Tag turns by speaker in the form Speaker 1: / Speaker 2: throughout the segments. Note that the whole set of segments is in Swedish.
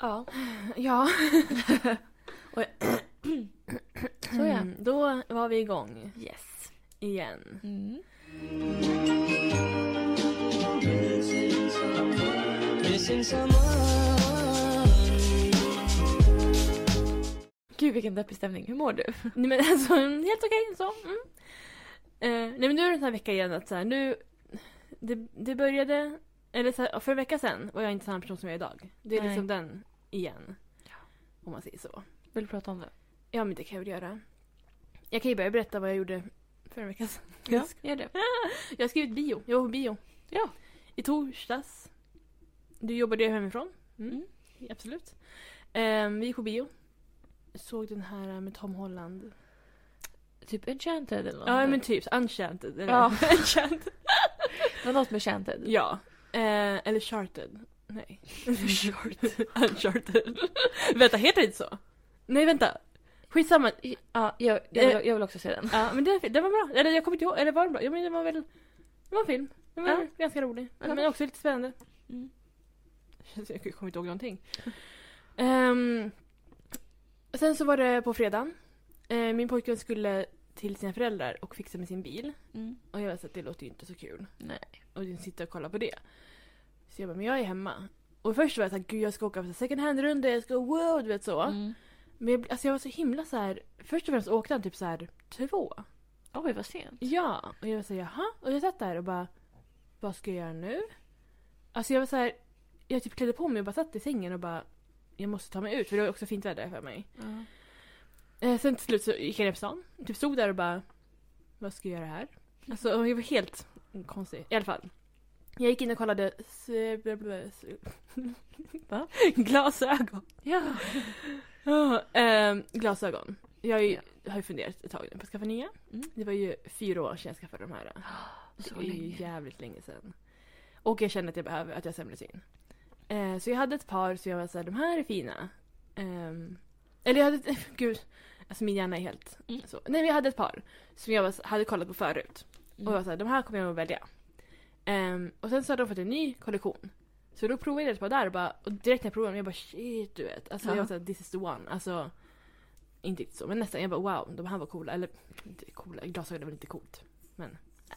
Speaker 1: Ja. Ja. Och jag... Så ja,
Speaker 2: Mm.
Speaker 1: då var vi igång
Speaker 2: Yes.
Speaker 1: igen.
Speaker 2: Mm. Gud vilken deppig stämning. Hur mår du?
Speaker 1: Nej men alltså, mm, helt okej så. Mm. Eh, nej men nu är det en sån här vecka igen att så här, nu... Det, det började... Eller så här, för en vecka sedan var jag inte samma person som jag är idag. Det är
Speaker 2: Nej.
Speaker 1: liksom den igen. Om man säger så.
Speaker 2: Vill du prata om det?
Speaker 1: Ja men det kan jag väl göra. Jag kan ju börja berätta vad jag gjorde för en vecka sedan.
Speaker 2: gör det.
Speaker 1: Jag har skrivit bio. Jag var på bio.
Speaker 2: Ja.
Speaker 1: I torsdags. Du jobbade ju hemifrån. Mm.
Speaker 2: Mm.
Speaker 1: Absolut. Ehm, vi gick på bio. Såg den här med Tom Holland.
Speaker 2: Typ enchanted eller något.
Speaker 1: Ja men typ Unchanted. Eller?
Speaker 2: Ja.
Speaker 1: Enchanted.
Speaker 2: Det var något med enchanted.
Speaker 1: ja. Eh, eller Charted. Nej. Uncharted. vänta, heter det inte så? Nej vänta. Skitsamma.
Speaker 2: Ja, jag, jag, vill, jag vill också se den.
Speaker 1: Ja men den, den var bra. Eller jag kommer inte ihåg. Eller var den bra? Ja men det var väl... Det var en film. Den var
Speaker 2: Ja.
Speaker 1: ganska rolig.
Speaker 2: Ja.
Speaker 1: Men också lite spännande.
Speaker 2: Mm.
Speaker 1: Jag kommer inte ihåg någonting. Ehm, sen så var det på fredagen. Eh, min pojkvän skulle till sina föräldrar och fixa med sin bil.
Speaker 2: Mm.
Speaker 1: Och jag sa att det låter ju inte så kul.
Speaker 2: Nej.
Speaker 1: Och jag sitta och kolla på det. Så jag bara, men jag är hemma. Och först var jag såhär, gud jag ska åka på second hand-runda, jag ska wow, du vet så.
Speaker 2: Mm.
Speaker 1: Men jag, alltså jag var så himla så här. först och främst åkte han typ så här två.
Speaker 2: Oj, vad sent.
Speaker 1: Ja, och jag var så här, jaha. Och jag satt där och bara, vad ska jag göra nu? Alltså jag var så här, jag typ klädde på mig och bara satt i sängen och bara, jag måste ta mig ut för det var också fint väder för mig.
Speaker 2: Ja.
Speaker 1: Eh, sen till slut så gick jag ner på stan, typ stod där och bara, vad ska jag göra här? Alltså jag var helt konstig, i alla fall. Jag gick in och kollade s- bla- bla- s-
Speaker 2: Va?
Speaker 1: glasögon.
Speaker 2: ja.
Speaker 1: Ja, ehm, glasögon. Jag har ju,
Speaker 2: Ja.
Speaker 1: har ju funderat ett tag nu på att skaffa nya.
Speaker 2: Mm.
Speaker 1: Det var ju fyra år sedan jag skaffade de här.
Speaker 2: Så
Speaker 1: det är ju
Speaker 2: länge.
Speaker 1: jävligt länge sedan. Och jag kände att jag behöver, att jag har sämre syn. Eh, så jag hade ett par så jag var såhär, de här är fina. Ehm, eller jag hade, ett- gud. Alltså min hjärna är helt
Speaker 2: Mm.
Speaker 1: så. Nej men jag hade ett par som jag var, så- hade kollat på förut. Och jag var
Speaker 2: Mm.
Speaker 1: såhär, de här kommer jag att välja. Ehm, och sen så hade de fått en ny kollektion. Så då provade jag ett par där och, bara, och direkt när jag provade dem jag bara shit du vet. Alltså jag
Speaker 2: Ja.
Speaker 1: var såhär, this is the one. Alltså, inte riktigt så men nästan. Jag bara wow, de här var coola. Eller inte coola, glasögon är väl inte coolt.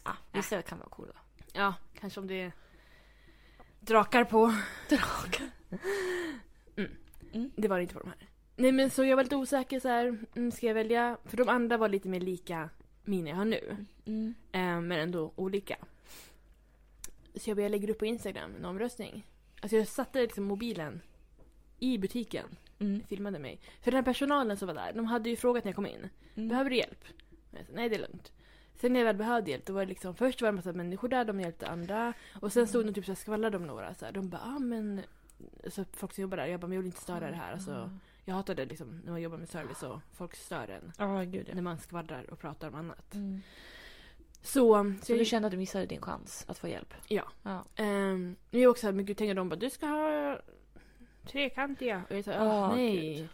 Speaker 2: Ja, vissa kan vara coola.
Speaker 1: Ja, kanske om det är drakar på.
Speaker 2: Drakar.
Speaker 1: Mm.
Speaker 2: Mm.
Speaker 1: Det var det inte på de här. Nej men så jag var lite osäker så här. Mm, ska jag välja? För de andra var lite mer lika mina jag har nu.
Speaker 2: Mm.
Speaker 1: Eh, men ändå olika. Så jag, bara, jag lägger upp på Instagram en omröstning. Alltså jag satte liksom mobilen i butiken.
Speaker 2: Mm.
Speaker 1: Filmade mig. För den här personalen som var där, de hade ju frågat när jag kom in. Behöver du hjälp? Men jag sa, nej det är lugnt. Sen när jag väl behövde hjälp, då var det liksom, först var det en massa människor där, de hjälpte andra. Och sen stod de typ så här skvallrade om några. Så här. De bara, ah, men... Så folk som jobbar där, jag bara, men jag vill inte störa det här. Alltså,
Speaker 2: Mm.
Speaker 1: jag hatar det liksom, när man jobbar med service och folk stör en.
Speaker 2: Ah. Ja, gud ja.
Speaker 1: När man skvallrar och pratar om annat.
Speaker 2: Mm.
Speaker 1: Så,
Speaker 2: Så
Speaker 1: jag-
Speaker 2: du kände att du missade din chans att få hjälp?
Speaker 1: Typ. Ja.
Speaker 2: Ja.
Speaker 1: Ehm, men jag var också såhär, men gud tänk om de bara du ska ha trekantiga. Och jag sa åh
Speaker 2: Ah,
Speaker 1: nej.
Speaker 2: gud.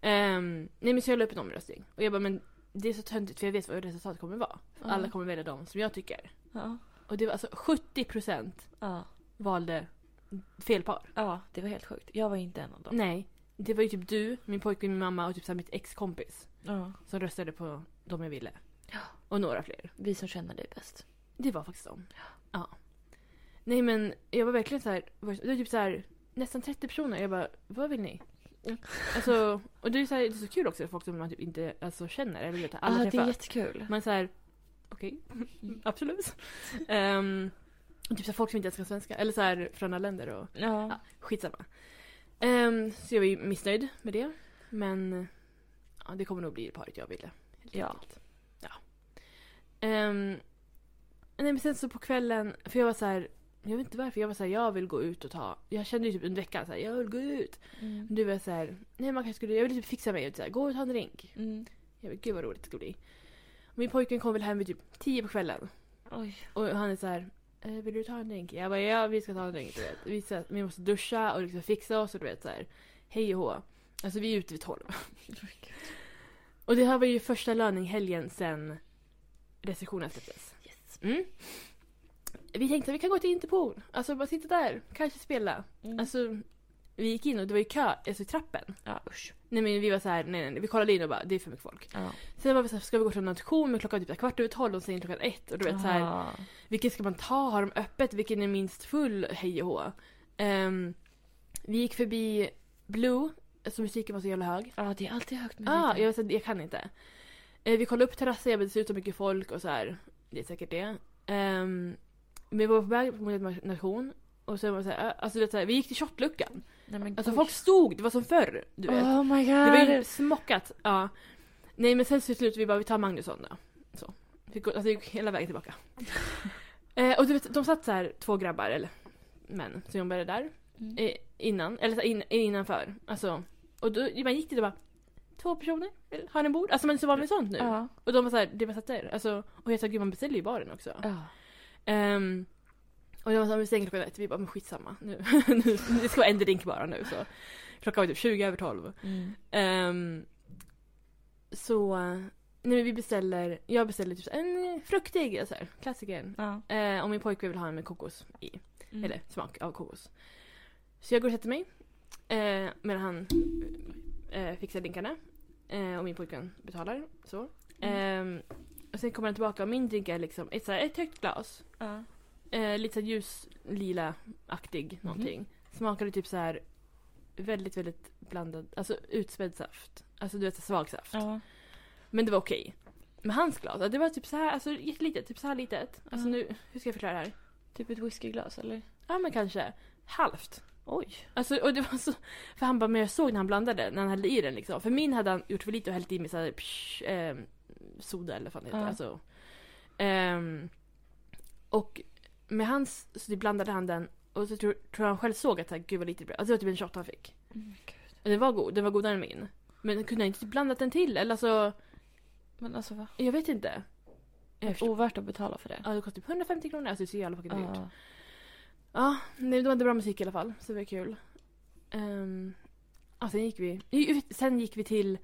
Speaker 1: Ehm, nej men så jag la upp en omröstning. Och jag bara men det är så töntigt för jag vet vad resultatet kommer vara. För
Speaker 2: Ja.
Speaker 1: Alla kommer välja de som jag tycker.
Speaker 2: Ja.
Speaker 1: Och det var alltså 70%
Speaker 2: ja.
Speaker 1: valde fel par.
Speaker 2: Ja, det var helt sjukt. Jag var inte en av dem.
Speaker 1: Nej. Det var ju typ du, min pojkvän, min mamma och typ så här mitt ex-kompis.
Speaker 2: Ja.
Speaker 1: Som röstade på de jag ville.
Speaker 2: Ja.
Speaker 1: Och några fler.
Speaker 2: Vi som känner dig bäst.
Speaker 1: Det var faktiskt de. Ja. Nej men jag var verkligen så här, var- det var typ så här nästan 30 personer. Jag bara, vad vill ni?
Speaker 2: Mm.
Speaker 1: Alltså, och det är, så här, det är så kul också, folk som man typ inte alltså, känner eller vet, alla
Speaker 2: ah, det
Speaker 1: träffar.
Speaker 2: är Mm. jättekul.
Speaker 1: Man är så här, okej, absolut. Ehm, och typ så här, folk som inte ens kan svenska, eller så här från andra länder och
Speaker 2: Ja.
Speaker 1: skitsamma. Ehm, så jag var ju missnöjd med det. Men ja, det kommer nog bli det paret jag ville. helt
Speaker 2: Ja.
Speaker 1: enkelt. ja. Ehm, nej, men sen så på kvällen, för jag var så här, jag vet inte varför, jag var så här, jag vill gå ut och ta, jag kände ju typ under veckan så här, jag vill gå ut.
Speaker 2: Mm.
Speaker 1: Men du var så här, nej man kanske skulle, jag vill typ fixa mig, och så här, gå och ta en drink.
Speaker 2: Mm.
Speaker 1: Jag vet gud vad roligt det ska bli. Min pojkvän kom väl hem vid typ tio på kvällen.
Speaker 2: Oj.
Speaker 1: Och han är så här, "Eh, vill du ta en drink? Jag bara, ja vi ska ta en drink. Du vet. Vi, ska, vi måste duscha och liksom fixa oss och du vet så här, hej och hå. Alltså vi är ute vid tolv. Och det här var ju första löning-helgen sen restriktionerna släpptes.
Speaker 2: Yes.
Speaker 1: Mm. Vi tänkte att vi kan gå till Interpol, alltså bara sitta där, kanske spela.
Speaker 2: Mm.
Speaker 1: Alltså Vi gick in och det var ju kö alltså, i trappen.
Speaker 2: Ja usch.
Speaker 1: Nej men vi var så här, nej, nej nej, vi kollade in och bara det är för mycket folk.
Speaker 2: Ja.
Speaker 1: Sen var vi så här, ska vi gå till en auktion men klockan var typ så här kvart över tolv och sen klockan ett och du vet så här,
Speaker 2: Ah.
Speaker 1: vilken ska man ta? Har de öppet? Vilken är minst full? Hej och hå. Ehm, vi gick förbi Blue, alltså musiken var så jävla hög.
Speaker 2: Ja det är alltid högt med
Speaker 1: Ja, ah,
Speaker 2: musiken.
Speaker 1: jag, jag, jag kan inte. Eh, vi kollade upp terrassen, jag vet, det ser ut så mycket folk och så här. Det är säkert det. Ehm, men vi var på väg mot en nation och sen var det så här, eh, alltså du vet, så här, vi gick till shortluckan.
Speaker 2: Nej, men
Speaker 1: Alltså
Speaker 2: oj.
Speaker 1: folk stod, det var som förr. Du vet.
Speaker 2: Oh my god.
Speaker 1: Ah, Det var ju smockat. Ja. Nej men sen till slut vi bara, vi tar Magnusson då. Så. Vi går, alltså, vi gick hela vägen tillbaka. eh, och du vet, de satt så här två grabbar, eller män, som jobbade där.
Speaker 2: Mm.
Speaker 1: Eh, innan, eller så här, in, innanför. Alltså, och då, man gick dit och bara Två personer? Eller, Har ni bord? Alltså man är så van vid sånt nu.
Speaker 2: Ja.
Speaker 1: Och de var såhär, det var satt där. Alltså, och jag sa gud man beställer ju i baren också.
Speaker 2: Ja.
Speaker 1: Ehm, och de var såhär, vi stänger klockan ett. Vi bara, men skitsamma. Nu, nu, det ska vara en drink bara nu. Så. Klockan var typ 20 över 12.
Speaker 2: Mm.
Speaker 1: Ehm, så, nej men vi beställer, jag beställer typ så här en fruktig, så här, klassikern.
Speaker 2: Ja.
Speaker 1: Eh, och min pojkvän vill ha en med kokos i,
Speaker 2: Mm.
Speaker 1: eller smak av kokos. Så jag går och sätter mig. Eh, medan han eh, fixar drinkarna. Eh, och min pojkvän betalar. Så. Ehm, och sen kommer han tillbaka och min drink är liksom ett, så här, ett högt glas.
Speaker 2: Ja.
Speaker 1: Eh, lite så här ljus
Speaker 2: Mhm.
Speaker 1: lila-aktig någonting. Smakade typ så här väldigt, väldigt blandad, alltså utspädd saft. Alltså du vet så här svag saft.
Speaker 2: Ja.
Speaker 1: Men det var okej. Men hans glas, ja, det var typ så här, alltså jättelitet, typ så här litet. Alltså
Speaker 2: Ja.
Speaker 1: nu, hur ska jag förklara det här?
Speaker 2: Typ ett whiskyglas eller?
Speaker 1: Ja men kanske halvt.
Speaker 2: Oj.
Speaker 1: Alltså och det var så, för han bara, men jag såg när han blandade, när han hällde i den liksom. För min hade han gjort för lite och hällt i med så här, psh, ehm, soda eller vad fan det heter.
Speaker 2: Ja.
Speaker 1: Alltså. Ehm, och med hans, så det blandade han den och så tror, tror han själv såg att så här, gud vad lite det blev. Alltså det var typ en shot han fick.
Speaker 2: Mm, gud.
Speaker 1: Och den var god, den var godare än min. Men kunde han inte typ blandat den till? Eller alltså,
Speaker 2: Men alltså va?
Speaker 1: jag vet inte. Jag förstår-
Speaker 2: Ovärt att betala för det.
Speaker 1: Ja, det kostar typ 150 kronor. Alltså det är så jävla fucking dyrt.
Speaker 2: Ja.
Speaker 1: Ja, nej, de hade bra musik i alla fall, så det var kul. Um, ja, sen gick vi, ju- sen gick vi till,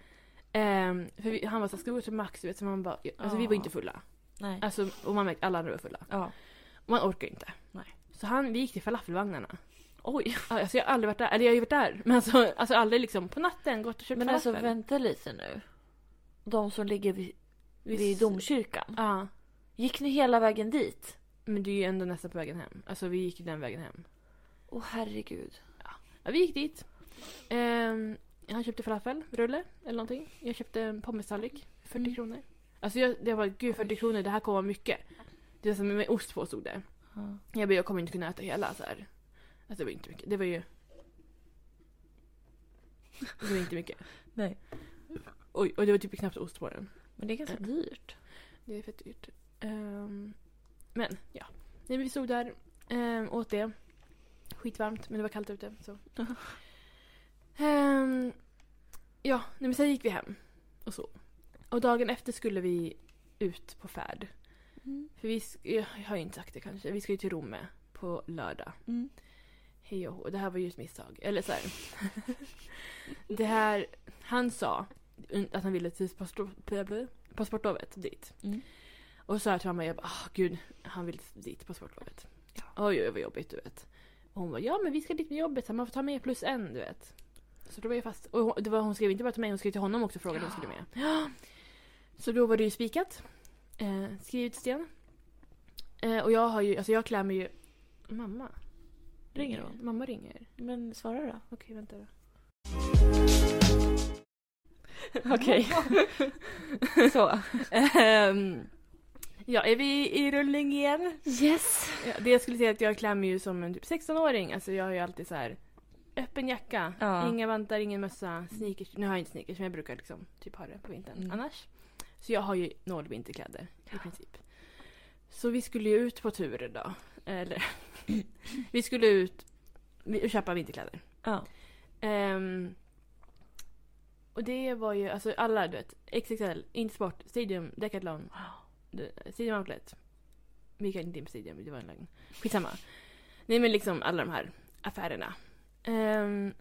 Speaker 1: ehm, för vi, han var såhär, ska vi gå till Max? Du vet, så man bara, alltså vi var inte fulla.
Speaker 2: Nej.
Speaker 1: Alltså, och man märkte, alla andra var fulla.
Speaker 2: Ja.
Speaker 1: Och man orkar inte.
Speaker 2: Nej.
Speaker 1: Så han, vi gick till falafelvagnarna. Oj! Alltså jag har aldrig varit där, eller jag har ju varit där, men alltså, alltså aldrig liksom på natten gått och köpt
Speaker 2: Men alltså
Speaker 1: falafel.
Speaker 2: vänta lite nu. De som ligger vid,
Speaker 1: Vi-
Speaker 2: vid domkyrkan.
Speaker 1: Ja,
Speaker 2: Gick ni hela vägen dit?
Speaker 1: men det är ju ändå nästan på vägen hem. Alltså vi gick ju den vägen hem.
Speaker 2: Åh herregud.
Speaker 1: Ja, vi gick dit. Ehm, han köpte falafelrulle eller någonting. Jag köpte en pommes-tallrik. 40
Speaker 2: Mm.
Speaker 1: kronor. Alltså jag, jag bara, gud 40 kronor, det här kommer vara mycket. Det var som med ost på stod det.
Speaker 2: Ja.
Speaker 1: Jag bara, jag kommer inte kunna äta hela så här. Alltså det var inte mycket. Det var ju... Det var inte mycket.
Speaker 2: Nej.
Speaker 1: Oj, och det var typ knappt ost på den.
Speaker 2: Men det är ganska
Speaker 1: Ja.
Speaker 2: dyrt.
Speaker 1: Det är fett dyrt. Ehm, men ja. Nej, men vi stod där, ehm, åt det. Skitvarmt, men det var kallt ute. Så. Ehm, ja, nej, men sen gick vi hem och så. Och dagen efter skulle vi ut på färd.
Speaker 2: Mm.
Speaker 1: För vi, sk- jag har ju inte sagt det kanske, vi ska ju till Romme på lördag.
Speaker 2: Mm.
Speaker 1: Hej och hå. det här var ju ett misstag. Eller så här. det här, han sa att han ville till passport- passportlovet dit.
Speaker 2: Mm.
Speaker 1: Och så här till mamma, jag bara ah gud, han vill dit på sportlovet.
Speaker 2: Ja.
Speaker 1: Oj oj vad jobbigt du vet. Och hon var ja men vi ska dit med jobbet, så man får ta med plus en du vet. Så då var jag fast. Och hon, det var, hon skrev inte bara till mig, hon skrev till honom också och frågade om han skulle med. Ja. Så då var det ju spikat. Eh, skrivet i sten. Eh, och jag har ju, alltså jag klär mig ju... Mamma? Eh,
Speaker 2: Ringer hon?
Speaker 1: Mamma ringer.
Speaker 2: Men svara då.
Speaker 1: Okej vänta då.
Speaker 2: Okej. Så.
Speaker 1: Ehm, ja, är vi i rullning igen?
Speaker 2: Yes.
Speaker 1: Ja, det jag skulle säga är att jag klär mig ju som en typ 16-åring. Alltså jag har ju alltid så här öppen jacka,
Speaker 2: Ja.
Speaker 1: inga vantar, ingen mössa, sneakers. Nu har jag inte sneakers men jag brukar liksom typ ha det på vintern
Speaker 2: Mm.
Speaker 1: annars. Så jag har ju noll vinterkläder i princip. Så vi skulle ju ut på tur då. Eller vi skulle ut vi- och köpa vinterkläder.
Speaker 2: Ja.
Speaker 1: Ehm, och det var ju alltså alla du vet, XXL, Intersport, Stadium, Decathlon, det- Stadium Outlet. Vi gick inte in på Stadium, det var en lögn. Skitsamma. Nej men liksom alla de här affärerna. Ehm,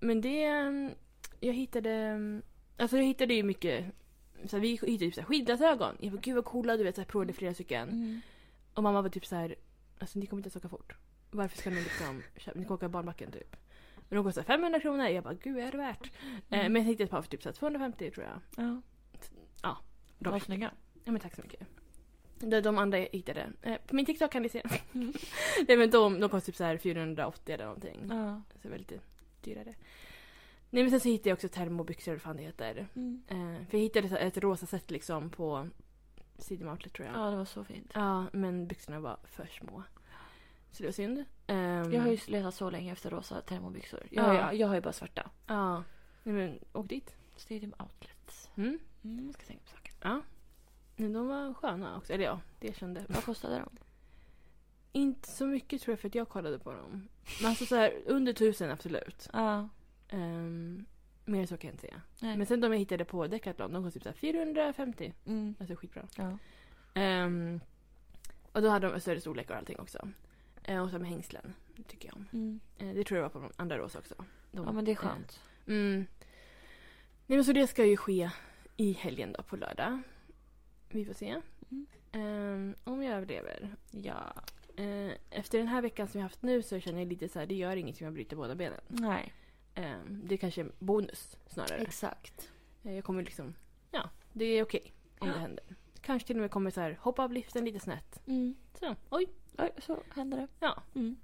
Speaker 1: men det... ehm, Jag hittade... Alltså jag hittade ju mycket... Så här, vi hittade typ så här skidglasögon. Jag bara gud vad coola du vet, så här, provade flera stycken.
Speaker 2: Mm.
Speaker 1: Och mamma var typ så här, alltså ni kommer inte ens åka fort. Varför ska ni liksom köpa, ni kan åka barnbacken typ. Men de kostar 500 kronor. Jag bara, gud är det värt? Eh,
Speaker 2: Mm.
Speaker 1: men jag hittade ett par för typ så här 250 tror jag.
Speaker 2: Ja.
Speaker 1: Ja,
Speaker 2: De var snygga.
Speaker 1: Ja, men tack så mycket. De, de andra jag hittade. Eh, på min TikTok kan ni se. Nej men de, de kostar typ så här 480 eller någonting.
Speaker 2: Ja.
Speaker 1: Så det var lite dyrare. Nej men sen så hittade jag också termobyxor, vad fan det heter.
Speaker 2: Mm.
Speaker 1: Eh, för jag hittade så- ett rosa set liksom på City Outlet tror jag.
Speaker 2: ja, det var så fint.
Speaker 1: Ja, men byxorna var för små. Så det var synd. Ehm,
Speaker 2: Jag har ju letat så länge efter rosa termobyxor. Jag,
Speaker 1: Ja.
Speaker 2: har, ju- jag har ju bara svarta.
Speaker 1: Ja. Nej men, åk dit.
Speaker 2: Stadium Outlets.
Speaker 1: Mm.
Speaker 2: Mm, jag ska tänka på saken.
Speaker 1: Nej, de var sköna också. Eller ja, det kände
Speaker 2: Vad kostade de?
Speaker 1: Inte så mycket tror jag för att jag kollade på dem. Men alltså så här, under tusen absolut.
Speaker 2: Ja.
Speaker 1: Ehm, mer så kan jag inte säga.
Speaker 2: Nej.
Speaker 1: Men sen de jag hittade på Decathlon, de kostade typ så här 450.
Speaker 2: Mm.
Speaker 1: Alltså skitbra.
Speaker 2: Ja.
Speaker 1: Ehm, och då hade de större storlekar och allting också. Eh, och så med hängslen. Det tycker jag om.
Speaker 2: Mm.
Speaker 1: Eh, det tror jag var på de andra rosa också. De,
Speaker 2: ja, men det är skönt.
Speaker 1: eh, mm. Nej men så det ska ju ske i helgen då, på lördag. Vi får se.
Speaker 2: Mm.
Speaker 1: Ehm, om jag överlever.
Speaker 2: Ja.
Speaker 1: Eh, efter den här veckan som jag haft nu så känner jag lite så här, det gör inget om jag bryter båda benen.
Speaker 2: Nej.
Speaker 1: Eh, det är kanske är en bonus snarare.
Speaker 2: Exakt.
Speaker 1: Eh, Jag kommer liksom, ja, det är okej om
Speaker 2: Ja.
Speaker 1: det händer. Kanske till och med kommer så här, hoppa av liften lite snett.
Speaker 2: Mm.
Speaker 1: Så, oj.
Speaker 2: Oj, så hände det.
Speaker 1: Ja.
Speaker 2: Mm.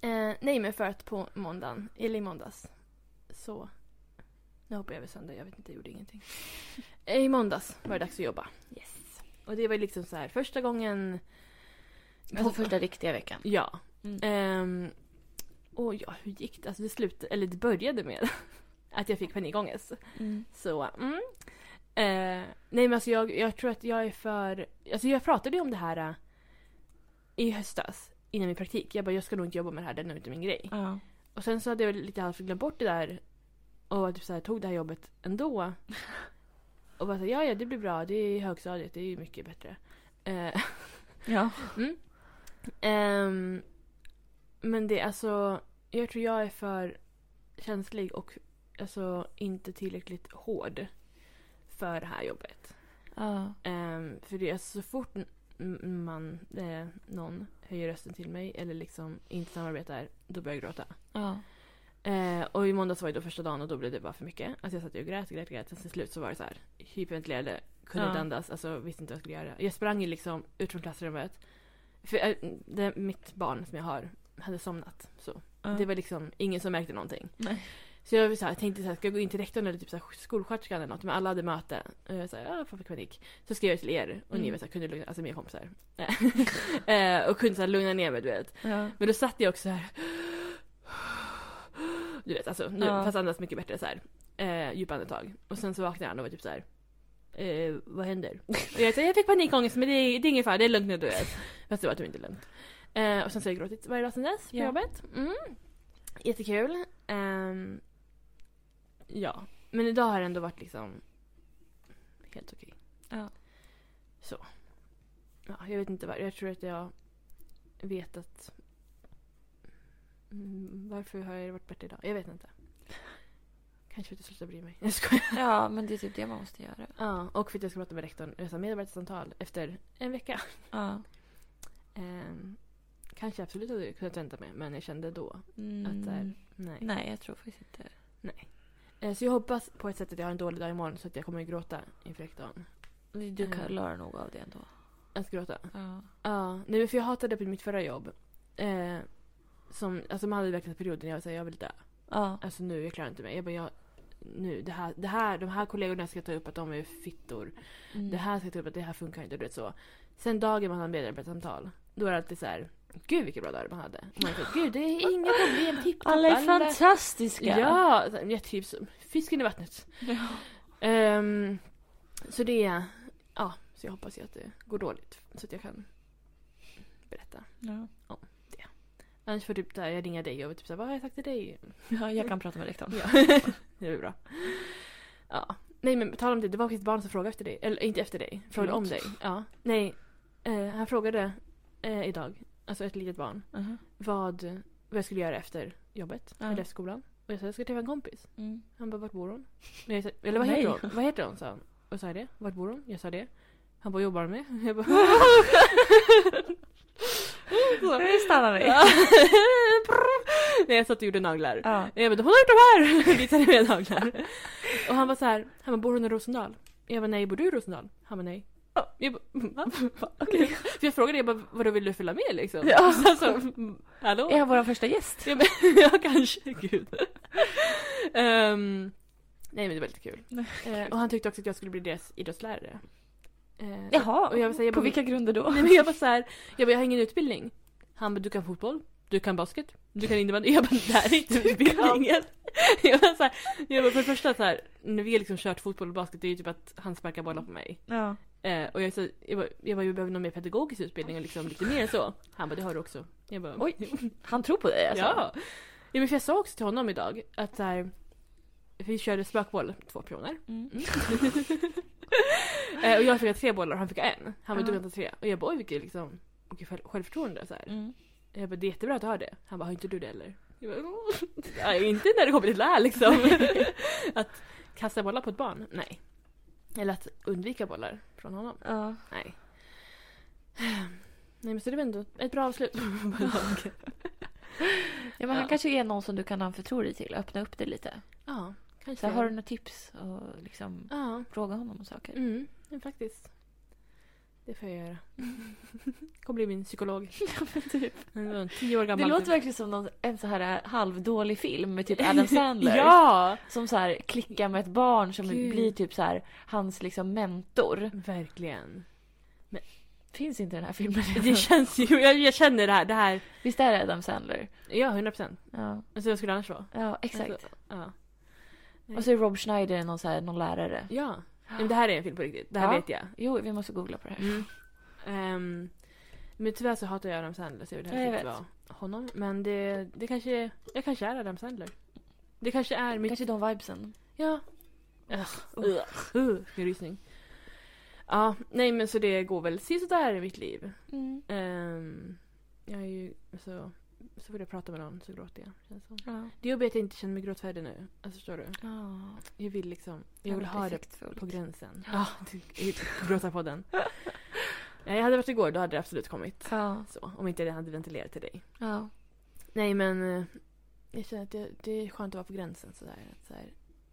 Speaker 1: Eh, nej men för att på måndagen, eller i måndags, så... Nu hoppar jag över söndag, jag vet inte, jag gjorde ingenting. Eh, I måndags var det dags att jobba.
Speaker 2: Yes.
Speaker 1: Och det var ju liksom så här första gången...
Speaker 2: Alltså första riktiga veckan.
Speaker 1: Ja.
Speaker 2: Mm.
Speaker 1: Ehm, och ja, hur gick det? Alltså det slutade, eller det började med att jag fick panikångest.
Speaker 2: Mm.
Speaker 1: Så, mm. Eh, nej men alltså jag, jag tror att jag är för... Alltså jag pratade ju om det här eh, i höstas innan min praktik. Jag bara, jag ska nog inte jobba med det här, det är nog inte min grej.
Speaker 2: Ja.
Speaker 1: Och sen så hade jag väl lite halvt glömt bort det där och typ så här, tog det här jobbet ändå. Och bara så här, ja ja det blir bra, det är i högstadiet, det är ju mycket bättre. Eh,
Speaker 2: Ja.
Speaker 1: ehm, men det är alltså, jag tror jag är för känslig och alltså inte tillräckligt hård för det här jobbet.
Speaker 2: Ja.
Speaker 1: Ehm, för det är alltså så fort n- n- man, eh, någon höjer rösten till mig eller liksom inte samarbetar, då börjar jag gråta.
Speaker 2: Ja.
Speaker 1: Eh, och i måndags var det då första dagen och då blev det bara för mycket. Alltså jag satt ju och grät, grät, grät. Sen till slut så var det så här hyperventilerade, kunde
Speaker 2: Ja.
Speaker 1: inte andas, alltså visste inte vad jag skulle göra. Jag sprang ju liksom ut från klassrummet. För eh, det, mitt barn som jag har hade somnat. Så det var liksom ingen som märkte någonting.
Speaker 2: Nej.
Speaker 1: Så jag var så här, tänkte så här, ska jag gå in till rektorn eller typ så här, skolsköterskan eller något? Men alla hade möte. Och jag sa, ja, fan fick panik. Så skrev jag till er och ni
Speaker 2: Mm.
Speaker 1: var så här, kunde lugna, alltså mina kompisar. eh, och kunde så här, lugna ner mig, du vet.
Speaker 2: Ja.
Speaker 1: Men då satt jag också så här. Du vet, alltså nu,
Speaker 2: Ja.
Speaker 1: fast andas mycket bättre så här. Eh, djupa andetag. Och sen så vaknade han och var typ så här. Eh, vad händer? Och jag sa jag fick panikångest men det är, det är ingen fara, det är lugnt nu du vet. Fast det var typ inte lugnt. Eh, och sen så har jag gråtit varje dag sen dess på
Speaker 2: Ja.
Speaker 1: jobbet. Mm. Jättekul. Ehm, ja, men idag har det ändå varit liksom helt okej.
Speaker 2: Ja.
Speaker 1: Så. Ja, jag vet inte vad, jag tror att jag vet att Mm, varför har jag varit bättre idag? Jag vet inte. Kanske för att jag slutar bry mig. Jag skojar.
Speaker 2: ja, men det är typ det man måste göra.
Speaker 1: Ja, och för att jag ska prata med rektorn, jag sa medarbetarsamtal, efter en vecka.
Speaker 2: Ja.
Speaker 1: Ehm, kanske absolut hade jag kunnat vänta mig, men jag kände då,
Speaker 2: Mm.
Speaker 1: där- nej.
Speaker 2: Nej, jag tror faktiskt inte.
Speaker 1: Eh, Så jag hoppas på ett sätt att jag har en dålig dag imorgon så att jag kommer att gråta inför rektorn.
Speaker 2: Du
Speaker 1: Mm.
Speaker 2: klarar nog av det ändå.
Speaker 1: Att gråta?
Speaker 2: Ja.
Speaker 1: Ja, nej men för jag hatade på mitt förra jobb. Eh, som, alltså man hade verkligen perioder när jag var såhär, jag vill dö.
Speaker 2: Ja.
Speaker 1: Alltså nu, jag klarar inte mig. Jag bara, jag, nu, det här, det här, de här kollegorna ska ta upp att de är fittor.
Speaker 2: Mm.
Speaker 1: Det här ska jag ta upp att det här funkar inte. Du vet så. Sen dagen man har medarbetarsamtal, då är det alltid så här. Gud vilka bra dagar man hade. Och Man säger, Gud det är inga problem, tipptopp.
Speaker 2: Alla är fantastiska!
Speaker 1: Ja, så här, jag trivs. som Fisken i vattnet.
Speaker 2: Ja.
Speaker 1: Ehm, så det, ja, så jag hoppas ju att det går dåligt. Så att jag kan berätta.
Speaker 2: Ja.
Speaker 1: Annars får typ där jag ringa dig och typ så här, vad har jag sagt till dig?
Speaker 2: Ja, jag kan prata med rektorn.
Speaker 1: Ja. det är väl bra. Ja. Nej men på tal om det, det var faktiskt ett barn som frågade efter dig. Eller inte efter dig, frågade om dig.
Speaker 2: Förlåt.
Speaker 1: Ja. Nej, eh, han frågade eh, idag, alltså ett litet barn,
Speaker 2: Mhm.
Speaker 1: vad, vad jag skulle göra efter jobbet,
Speaker 2: Ja.
Speaker 1: eller efter skolan. Och jag sa jag ska träffa en kompis.
Speaker 2: Mm.
Speaker 1: Han bara, vart bor hon? Men jag sa, eller vad heter
Speaker 2: Nej.
Speaker 1: hon? Vad heter hon? sa han. Och jag sa det. Vart bor hon? Jag sa det. Han bara, jobbar hon med? Jag bara...
Speaker 2: Så, nu stannar vi.
Speaker 1: Ja. Nej jag satt och gjorde naglar.
Speaker 2: Ja.
Speaker 1: Jag bara, hon har gjort de här! Visade mig naglar. Och han var så här, han bara, bor hon i Rosendal? Jag bara, nej, bor du i Rosendal? Han bara, nej. Jag bara, "Mm, va? Okej. För jag frågade, jag bara, vadå vill du följa med liksom?
Speaker 2: Ja.
Speaker 1: Så, alltså, mm, hallå?
Speaker 2: Är han vår första gäst?
Speaker 1: Ja, men, ja kanske, gud. Ehm, nej men det var lite kul. Eh, och han tyckte också att jag skulle bli deras idrottslärare. Eh, så-
Speaker 2: Jaha,
Speaker 1: och jag vill säga, jag
Speaker 2: på
Speaker 1: bara-
Speaker 2: vilka grunder då?
Speaker 1: Nej men jag var så här, jag bara, jag har ingen utbildning. Han bara, du kan fotboll, du kan basket, du kan innebandy. Jag bara, det här är inte utbildningen. Jag bara, så här, jag bara, för det första så här, när vi har liksom kört fotboll och basket, det är ju typ att han sparkar bollar på mig.
Speaker 2: Ja.
Speaker 1: Eh, och jag sa, jag bara, jag bara, jag behöver någon mer pedagogisk utbildning och liksom lite mer än så. Han bara, det har du också. Jag bara,
Speaker 2: Oj, han tror på dig alltså?
Speaker 1: Ja. ja! men för jag sa också till honom idag att så här, vi körde spökboll, två personer.
Speaker 2: Mm.
Speaker 1: Eh, och jag fick tre bollar och han fick en. Han var
Speaker 2: Ja.
Speaker 1: du kan ta tre. Och jag bara oj vilket liksom, vilket själv- självförtroende. Så här.
Speaker 2: Mm.
Speaker 1: Jag bara det är jättebra att du har det. Han bara har inte du det eller? Jag bara, "Åh." ja, inte när det kommer till det här liksom. att kasta bollar på ett barn, nej. Eller att undvika bollar från honom,
Speaker 2: Ja.
Speaker 1: nej. Nej men så det var ändå ett bra avslut.
Speaker 2: ja, men han
Speaker 1: Ja.
Speaker 2: kanske är någon som du kan anförtro dig till, öppna upp dig lite.
Speaker 1: ja, kanske.
Speaker 2: Så här, har du några tips och liksom
Speaker 1: Ja.
Speaker 2: fråga honom om saker?
Speaker 1: Mm, men faktiskt. Det får jag göra. Kommer bli min psykolog. Han var tio år
Speaker 2: typ. Det
Speaker 1: gammal.
Speaker 2: låter
Speaker 1: typ.
Speaker 2: verkligen som någon, en så här eh, halvdålig film med typ Adam Sandler.
Speaker 1: Ja!
Speaker 2: Som så här klickar med ett barn som
Speaker 1: Gud.
Speaker 2: blir typ så här hans liksom mentor.
Speaker 1: Verkligen.
Speaker 2: Finns inte den här filmen
Speaker 1: Det känns ju, jag, jag känner det här. Det här
Speaker 2: Visst är det Adam Sandler?
Speaker 1: ja, 100 procent.
Speaker 2: Ja,
Speaker 1: Alltså, vad skulle det annars vara?
Speaker 2: ja exakt.
Speaker 1: Alltså, ja.
Speaker 2: och så är Rob Schneider någon, så här, någon lärare.
Speaker 1: ja. Men det här är en film på riktigt. Det här
Speaker 2: Ja.
Speaker 1: vet jag.
Speaker 2: Jo, vi måste googla på det här.
Speaker 1: Mm. Ehm, men tyvärr så hatar jag Adam Sandler så jag vill
Speaker 2: Ja, jag
Speaker 1: helst inte
Speaker 2: vet.
Speaker 1: vara honom. Men det, det kanske, jag kanske är Adam Sandler. Det kanske är mitt
Speaker 2: Kanske de vibesen.
Speaker 1: Ja. Ugh. Ugh. Vilken rysning. Ja, nej men så det går väl sådär i mitt liv.
Speaker 2: Mm.
Speaker 1: Ehm, jag är ju, så, så fort jag pratar med någon så gråter jag. Känns som.
Speaker 2: Ja.
Speaker 1: Det jobbiga är att jag inte känner mig gråtfärdig nu. Alltså förstår du? Jag vill liksom, jag vill ha det på gränsen. Ja, gråta på den. Jag hade varit igår, då hade det absolut kommit.
Speaker 2: Ja.
Speaker 1: Så, om inte det hade ventilerat till dig.
Speaker 2: ja.
Speaker 1: Nej men eh, jag känner att det, det är skönt att vara på gränsen sådär. Att såhär,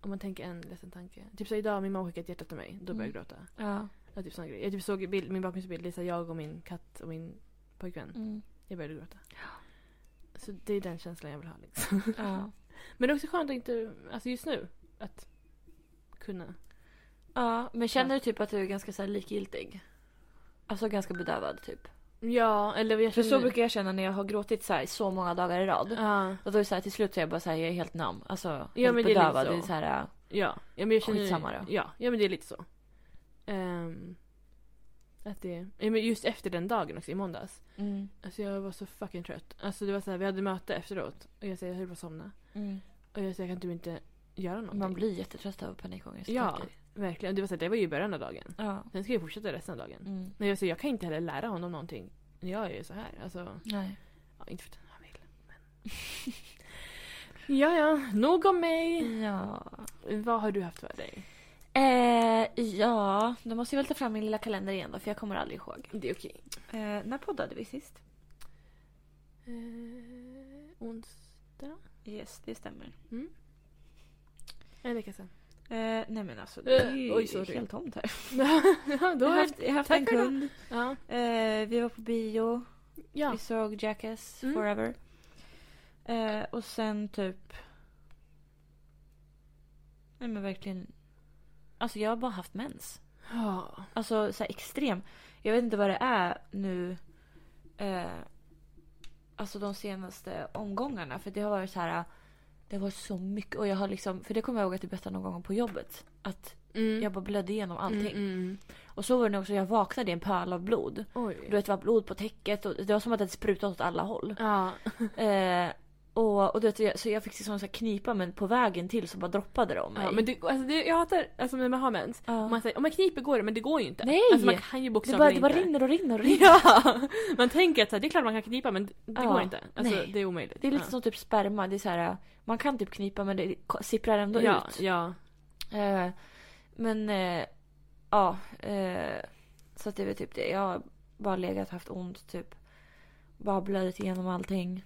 Speaker 1: om man tänker en ledsen tanke. Typ så idag, min mamma skickade ett hjärta till mig. Då började jag gråta.
Speaker 2: ja.
Speaker 1: Ja, typ sån grej. Jag typ såg i bild, min bakgrundsbild, det är så här, jag och min katt och min pojkvän.
Speaker 2: Mm.
Speaker 1: Jag började gråta. Så det är den känslan jag vill ha liksom.
Speaker 2: ja.
Speaker 1: Men det är också skönt att inte, alltså just nu, att kunna.
Speaker 2: ja. Men känner du typ att du är ganska så här likgiltig? Alltså ganska bedövad typ.
Speaker 1: Ja, eller jag
Speaker 2: För
Speaker 1: känner...
Speaker 2: så brukar jag känna när jag har gråtit så här i så många dagar i rad.
Speaker 1: Ja,
Speaker 2: Och då är det så här, till slut så är jag bara så här, jag är helt nam. Alltså, helt
Speaker 1: men det är lite
Speaker 2: bedövad.
Speaker 1: så.
Speaker 2: Det är så här, äh,
Speaker 1: ja. ja men jag känner...
Speaker 2: Skitsamma då.
Speaker 1: Ja, ja men det är lite så. Ehm, att det... Ja, men just efter den dagen också, i måndags.
Speaker 2: mm,
Speaker 1: Alltså jag var så fucking trött. Alltså det var så här, vi hade möte efteråt. Och jag säger jag höll på att somna.
Speaker 2: mm.
Speaker 1: Och jag säger jag kan typ inte göra någonting.
Speaker 2: Man blir jättetrött av panikångest.
Speaker 1: Ja,
Speaker 2: tänker
Speaker 1: verkligen. Och Det var, så här, det var ju i början av dagen.
Speaker 2: jag. ja.
Speaker 1: Sen ska jag fortsätta resten av dagen.
Speaker 2: Mm.
Speaker 1: Men jag, säger, jag kan inte heller lära honom någonting. Jag är ju så här. Alltså,
Speaker 2: Nej.
Speaker 1: ja, inte för att han vill. Men... ja, ja. Nog om mig.
Speaker 2: Ja.
Speaker 1: Vad har du haft för dig?
Speaker 2: Eh, ja, då måste jag väl ta fram min lilla kalender igen då för jag kommer aldrig ihåg.
Speaker 1: Det är okej.
Speaker 2: Eh, när poddade vi sist?
Speaker 1: Eh, onsdag?
Speaker 2: Yes, det stämmer.
Speaker 1: En vecka sedan.
Speaker 2: Eh, nej men alltså
Speaker 1: det är ju Eh, Oj, sorry. helt
Speaker 2: tomt här.
Speaker 1: ja, då
Speaker 2: Jag har
Speaker 1: är...
Speaker 2: haft, jag har haft
Speaker 1: Tack
Speaker 2: en
Speaker 1: för idag.
Speaker 2: kund.
Speaker 1: Ja.
Speaker 2: Eh, vi var på bio.
Speaker 1: ja.
Speaker 2: Vi såg Jackass
Speaker 1: Mm.
Speaker 2: Forever. Eh, och sen typ... Nej men verkligen. Alltså jag har bara haft mens.
Speaker 1: Ja.
Speaker 2: Alltså så här extrem. Jag vet inte vad det är nu. Eh, alltså de senaste omgångarna. För det har varit så här. Det har varit så mycket. Och jag har liksom. För det kommer jag ihåg att jag berättade någon gång på jobbet. Att
Speaker 1: Mm.
Speaker 2: jag bara blödde igenom allting.
Speaker 1: Mm, mm.
Speaker 2: Och så var det nog också. Jag vaknade i en pöl av blod.
Speaker 1: Oj.
Speaker 2: Du vet det var blod på täcket. Och det var som att det hade sprutat åt alla håll.
Speaker 1: Ja.
Speaker 2: Eh, och, och du vet, jag- så jag fick liksom så här knipa men på vägen till så bara droppade det om mig.
Speaker 1: ja. Men det, alltså, det, jag hatar alltså, när man har mens.
Speaker 2: Ja.
Speaker 1: Om man, säger, om man kniper går det, men det går ju inte.
Speaker 2: Nej!
Speaker 1: Alltså, man kan ju
Speaker 2: det, bara,
Speaker 1: bokstavligen
Speaker 2: det bara
Speaker 1: inte.
Speaker 2: rinner och rinner och rinner.
Speaker 1: Ja! Man tänker att så här, det är klart man kan knipa men det
Speaker 2: Ja,
Speaker 1: går inte. Alltså
Speaker 2: nej.
Speaker 1: det är omöjligt.
Speaker 2: Det är lite
Speaker 1: ja.
Speaker 2: som typ sperma. Det är så här, man kan typ knipa men det ko- sipprar ändå
Speaker 1: ja,
Speaker 2: ut.
Speaker 1: ja.
Speaker 2: Eh, men eh, ja. Eh, så att det var typ det. Jag har bara legat haft ont typ. bara blöjt igenom allting.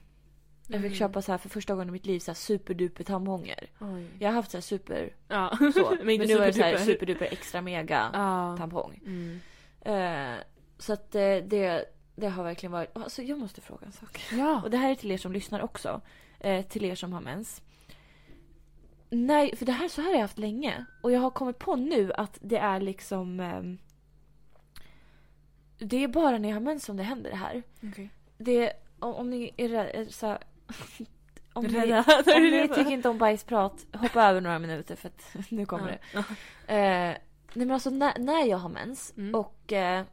Speaker 2: Jag fick
Speaker 1: Mm.
Speaker 2: köpa så här för första gången i mitt liv så här superduper tamponger.
Speaker 1: Oj.
Speaker 2: Jag har haft så här super
Speaker 1: Ja.
Speaker 2: så.
Speaker 1: Men inte
Speaker 2: nu var det typ så
Speaker 1: superduper.
Speaker 2: här superduper extra mega
Speaker 1: Ja.
Speaker 2: tampong.
Speaker 1: Mm.
Speaker 2: Eh, så att eh, det, det har verkligen varit... Alltså jag måste fråga en sak.
Speaker 1: Ja.
Speaker 2: Och det här är till er som lyssnar också. Eh, till er som har mens. Nej, för det här så här har jag haft länge. Och jag har kommit på nu att det är liksom... ehm, det är bara när jag har mens som det händer det här.
Speaker 1: Okej.
Speaker 2: Det, om, om ni är rädda... Så, här- om ni,
Speaker 1: Rädda.
Speaker 2: om ni tycker inte om bajsprat, hoppa över några minuter för att nu kommer det.
Speaker 1: Ja.
Speaker 2: Eh, nej men alltså när, när jag har mens
Speaker 1: Mm.
Speaker 2: och eh,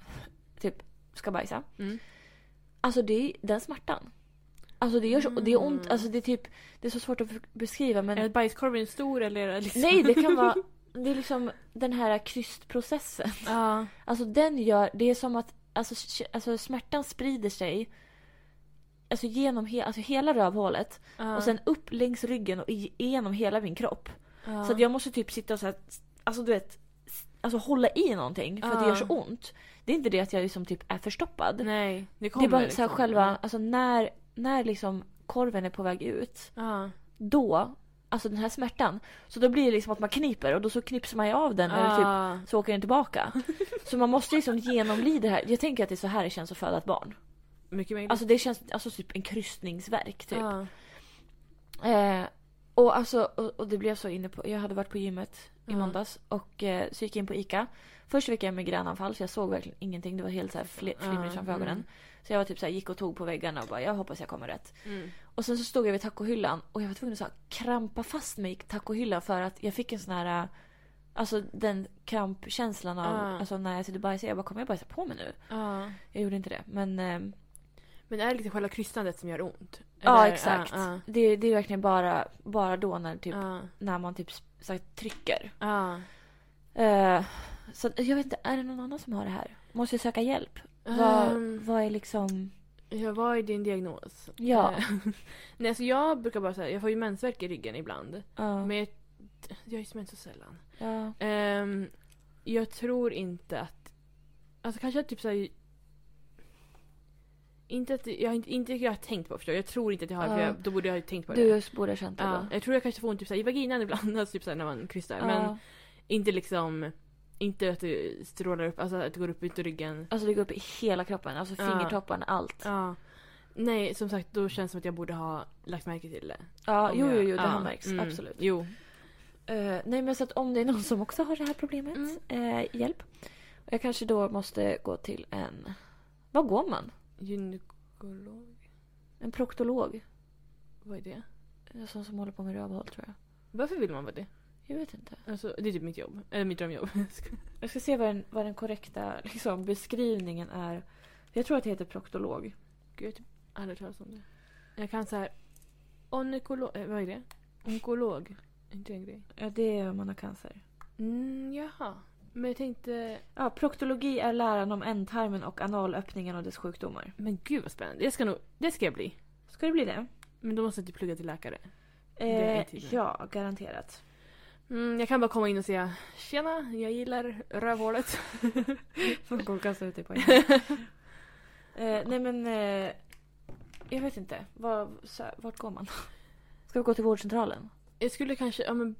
Speaker 2: typ ska bajsa.
Speaker 1: Mm.
Speaker 2: Alltså det är den smärtan. Alltså det gör så, och det är ont,
Speaker 1: Mm.
Speaker 2: alltså det är typ, det är så svårt att f- beskriva men
Speaker 1: Är det bajskorven stor eller är det liksom...
Speaker 2: nej det kan vara, det är liksom den här krystprocessen.
Speaker 1: Ja.
Speaker 2: Alltså den gör, det är som att alltså, k- alltså smärtan sprider sig alltså genom he, alltså hela rövhålet
Speaker 1: Ja.
Speaker 2: och sen upp längs ryggen och igenom hela min kropp.
Speaker 1: Ja.
Speaker 2: Så att jag måste typ sitta och så här, alltså du vet, s- alltså hålla i någonting för att det
Speaker 1: Ja.
Speaker 2: gör så ont. Det är inte det att jag liksom typ är förstoppad.
Speaker 1: Nej, det
Speaker 2: det
Speaker 1: kommer
Speaker 2: är bara så
Speaker 1: liksom.
Speaker 2: här själva, alltså när, när liksom korven är på väg ut,
Speaker 1: Ja.
Speaker 2: då, alltså den här smärtan, så då blir det liksom att man kniper och då så knipsar man ju av den eller typ
Speaker 1: Ja.
Speaker 2: så åker den tillbaka. så man måste liksom genomlida det här. Jag tänker att det är så här det känns att föda ett barn.
Speaker 1: Mycket möjligt.
Speaker 2: Alltså det känns, alltså typ en kryssningsverk typ.
Speaker 1: Ja.
Speaker 2: Eh, och, alltså, och, och det blev så inne på, jag hade varit på gymmet i
Speaker 1: Ja.
Speaker 2: måndags och eh, så gick jag in på ICA. Först fick jag migränanfall så jag såg verkligen ingenting. Det var helt så här fl- flimmer
Speaker 1: Ja,
Speaker 2: framför
Speaker 1: mm.
Speaker 2: ögonen. Så jag var typ så här, gick och tog på väggarna och bara jag hoppas jag kommer rätt.
Speaker 1: Mm.
Speaker 2: Och sen så stod jag vid tacohyllan och jag var tvungen att så här, krampa fast mig i tacohyllan för att jag fick en sån här eh, Alltså den krampkänslan av
Speaker 1: Ja.
Speaker 2: alltså, när jag sitter och bajsar. Jag bara kommer jag bajsa på mig nu?
Speaker 1: Ja.
Speaker 2: Jag gjorde inte det men ehm,
Speaker 1: Men är det liksom själva krystandet som gör ont?
Speaker 2: ja
Speaker 1: Eller-
Speaker 2: exakt.
Speaker 1: Ja.
Speaker 2: Det, det är verkligen bara, bara då när, typ,
Speaker 1: Ja.
Speaker 2: när man typ så här, trycker.
Speaker 1: Ja.
Speaker 2: Eh, så att jag vet inte, är det någon annan som har det här? Måste jag söka hjälp? Vad,
Speaker 1: Ehm,
Speaker 2: vad är liksom...
Speaker 1: Ja, vad är din diagnos?
Speaker 2: Ja.
Speaker 1: Eh, Nej, alltså jag brukar bara säga, jag får ju mensvärk i ryggen ibland.
Speaker 2: ja,
Speaker 1: Men jag, jag har ju mens så sällan.
Speaker 2: ja,
Speaker 1: Ehm, jag tror inte att... Alltså kanske att typ såhär... Inte att jag, inte, inte att jag har tänkt på det, förstår du? Jag tror inte att jag har för
Speaker 2: Ja.
Speaker 1: jag, då borde jag ha tänkt på det.
Speaker 2: du borde ha känt det
Speaker 1: ja,
Speaker 2: då.
Speaker 1: jag tror jag kanske får ont typ såhär, i vaginan ibland, alltså typ såhär, när man krystar. Men
Speaker 2: Ja.
Speaker 1: inte liksom... Inte att det strålar upp, alltså att det går upp ut ur ryggen.
Speaker 2: Alltså det går upp i hela kroppen, alltså
Speaker 1: Ja.
Speaker 2: fingertopparna, allt. Ja,
Speaker 1: Ja. Nej, som sagt, då känns det som att jag borde ha lagt märke till det. Om
Speaker 2: jo, jo,
Speaker 1: jag-
Speaker 2: jo, det
Speaker 1: ja,
Speaker 2: har märks.
Speaker 1: mm,
Speaker 2: Absolut.
Speaker 1: Jo.
Speaker 2: Eh, nej, men så att om det är någon som också har det här problemet,
Speaker 1: Mm.
Speaker 2: eh, hjälp. Och jag kanske då måste gå till en... Vad går man?
Speaker 1: Gynekolog?
Speaker 2: En proktolog?
Speaker 1: Vad är det?
Speaker 2: En sån som håller på med rövhål, tror jag.
Speaker 1: Varför vill man vara det?
Speaker 2: Jag vet inte.
Speaker 1: Alltså, det är typ mitt jobb. Eller mitt drömjobb.
Speaker 2: Jag ska se vad den, vad den korrekta liksom, beskrivningen är. Jag tror att det heter proktolog.
Speaker 1: Gud, jag har typ aldrig hört talas om det. Jag kan så här... Onkolog... Eh, vad är det? Onkolog? Är inte det en grej?
Speaker 2: Ja, det är om man har cancer.
Speaker 1: Mm, jaha. Men jag tänkte...
Speaker 2: Ja, proktologi är läran om ändtarmen och analöppningen och dess sjukdomar.
Speaker 1: Men gud vad spännande. Det ska, nog, det ska jag bli.
Speaker 2: Ska det bli det?
Speaker 1: Men då måste jag inte plugga till läkare. är
Speaker 2: Eh,
Speaker 1: tydligen.
Speaker 2: ja, garanterat.
Speaker 1: Mm, jag kan bara komma in och säga Tjena, jag gillar rövhålet.
Speaker 2: Får gå och kasta ut dig på en eh, Nej men... Eh, jag vet inte. Var, så, här, vart går man? Ska vi gå till vårdcentralen?
Speaker 1: Jag skulle kanske... Ja, men...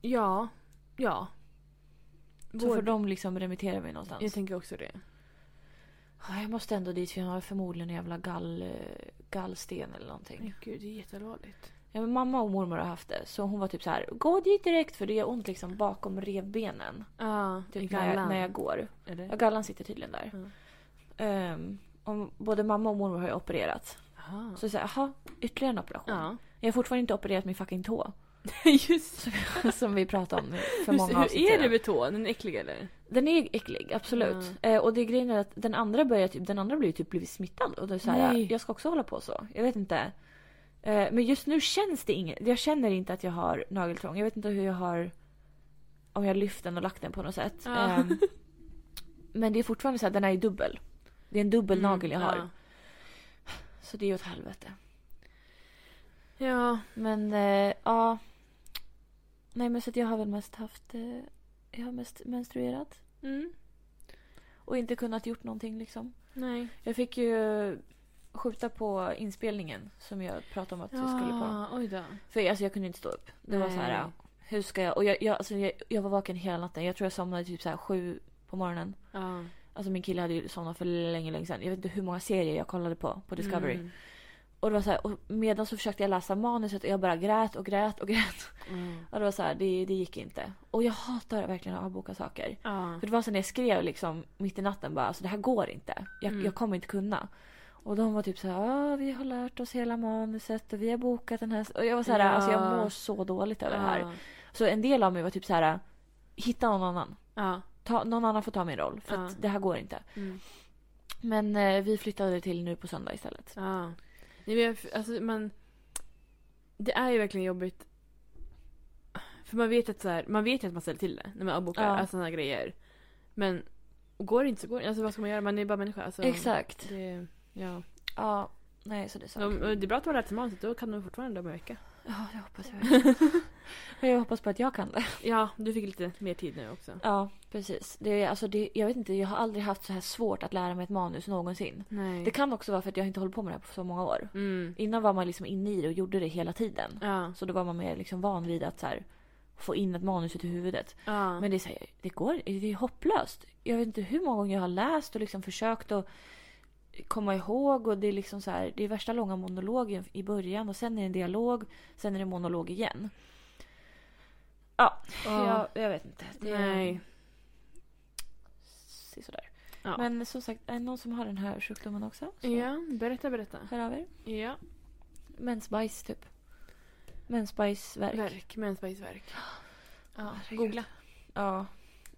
Speaker 1: Ja. Ja.
Speaker 2: Så får
Speaker 1: Vård-
Speaker 2: de liksom remittera mig någonstans.
Speaker 1: Jag tänker också det.
Speaker 2: Ja, Jag måste ändå dit för jag har förmodligen en jävla gall, eh, gallsten eller någonting.
Speaker 1: Men gud, det är jätteallvarligt.
Speaker 2: Ja, men mamma och mormor har haft det. Så hon var typ så här, gå dit direkt för det gör ont liksom bakom revbenen.
Speaker 1: Ja,
Speaker 2: Typ när jag, när jag går. Ja,
Speaker 1: Eller?
Speaker 2: gallan sitter tydligen där.
Speaker 1: Mm.
Speaker 2: Ehm, om, både mamma och mormor har ju opererat.
Speaker 1: Aha.
Speaker 2: Så jag säger, jaha, ytterligare en operation.
Speaker 1: Ja.
Speaker 2: Jag har fortfarande inte opererat min fucking tå.
Speaker 1: Just
Speaker 2: som vi pratade om för
Speaker 1: Hur-
Speaker 2: många
Speaker 1: Hur
Speaker 2: avsnitt
Speaker 1: är det
Speaker 2: sedan.
Speaker 1: med tån? Den är äcklig eller?
Speaker 2: Den är äcklig, absolut. Eh, och det är grejen är att den andra börjar typ, den andra blir ju typ blivit smittad. Och då är det så här,
Speaker 1: Nej.
Speaker 2: jag ska också hålla på så. Jag vet inte. Eh, men just nu känns det inget. Jag känner inte att jag har nageltrång. Jag vet inte hur jag har, om jag har lyft den och lagt den på något sätt.
Speaker 1: Ja.
Speaker 2: Ehm, men det är fortfarande så här, den är ju dubbel. Det är en dubbel nagel jag har.
Speaker 1: Ja.
Speaker 2: Så det är ju åt helvete.
Speaker 1: ja.
Speaker 2: Men eh, ja. Nej men så att jag har väl mest haft, eh, jag har mest menstruerat.
Speaker 1: Mm.
Speaker 2: Och inte kunnat gjort någonting liksom.
Speaker 1: Nej.
Speaker 2: Jag fick ju skjuta på inspelningen som jag pratade om att vi skulle på.
Speaker 1: Ja, oj då.
Speaker 2: För alltså, jag kunde inte stå upp. Det var så här,
Speaker 1: Ah. Nej.
Speaker 2: ja, hur ska jag? Och jag, jag, alltså, jag, jag var vaken hela natten. Jag tror jag somnade typ så här sju på morgonen.
Speaker 1: Ja.
Speaker 2: Alltså min kille hade ju somnat för länge, länge sedan. Jag vet inte hur många serier jag kollade på, på Discovery.
Speaker 1: Mm.
Speaker 2: Och det var så här, och medan så försökte jag läsa manuset och jag bara grät och grät och grät.
Speaker 1: Mm.
Speaker 2: Och det var så här, det, det gick inte. Och jag hatar verkligen att avboka saker.
Speaker 1: Ja.
Speaker 2: För det var så när jag skrev liksom mitt i natten bara, alltså det här går inte. Jag,
Speaker 1: Mm.
Speaker 2: jag kommer inte kunna. Och de var typ så här, ah, vi har lärt oss hela manuset och vi har bokat den här. Och jag var så här,
Speaker 1: Ja.
Speaker 2: alltså jag mår så dåligt över det här.
Speaker 1: Ja.
Speaker 2: Så en del av mig var typ så här, hitta någon annan.
Speaker 1: Ja.
Speaker 2: Ta, någon annan får ta min roll för
Speaker 1: Ja.
Speaker 2: att det här går inte.
Speaker 1: Ah. Mm.
Speaker 2: Men eh, vi flyttade till nu på söndag istället.
Speaker 1: Ja. Nej, men jag- alltså, man, det är ju verkligen jobbigt. För man vet, att så här, man vet ju att man ställer till det när man avbokar
Speaker 2: Ja.
Speaker 1: alltså, sådana här grejer. Men går det inte så går det inte. Alltså, vad ska man göra? Man är bara människa. Alltså,
Speaker 2: Exakt.
Speaker 1: Det, ja.
Speaker 2: Ja, nej så det är så.
Speaker 1: de, och det är bra att man har lärt sig manuset. Då kan de fortfarande om en vecka.
Speaker 2: Ja, det hoppas jag verkligen. Men jag hoppas på att jag kan det.
Speaker 1: Ja, du fick lite mer tid nu också.
Speaker 2: Ja, precis. Det, är- alltså, det, jag vet inte, jag har aldrig haft så här svårt att lära mig ett manus någonsin.
Speaker 1: Nej.
Speaker 2: Det kan också vara för att jag inte hållit på med det här på så många år.
Speaker 1: Mm.
Speaker 2: Innan var man liksom inne i det och gjorde det hela tiden.
Speaker 1: Ja.
Speaker 2: Så då var man mer liksom van vid att så här, få in ett manus i huvudet.
Speaker 1: ja.
Speaker 2: Men det, är så här, det går det är hopplöst. Jag vet inte hur många gånger jag har läst och liksom försökt att komma ihåg. Och det, är liksom så här, det är värsta långa monologen i början och sen är det en dialog. Sen är det monolog igen. Ja,
Speaker 1: Ja.
Speaker 2: Jag, jag vet inte. Det,
Speaker 1: Nej.
Speaker 2: se sådär.
Speaker 1: Ja.
Speaker 2: Men som sagt, är det någon som har den här sjukdomen också? Så
Speaker 1: ja, berätta, berätta.
Speaker 2: Hör av er.
Speaker 1: Ja.
Speaker 2: Mensbajs typ. Mensbajsvärk.
Speaker 1: Verk. Mensbajsverk. Ja,
Speaker 2: Herregud.
Speaker 1: googla.
Speaker 2: Ja.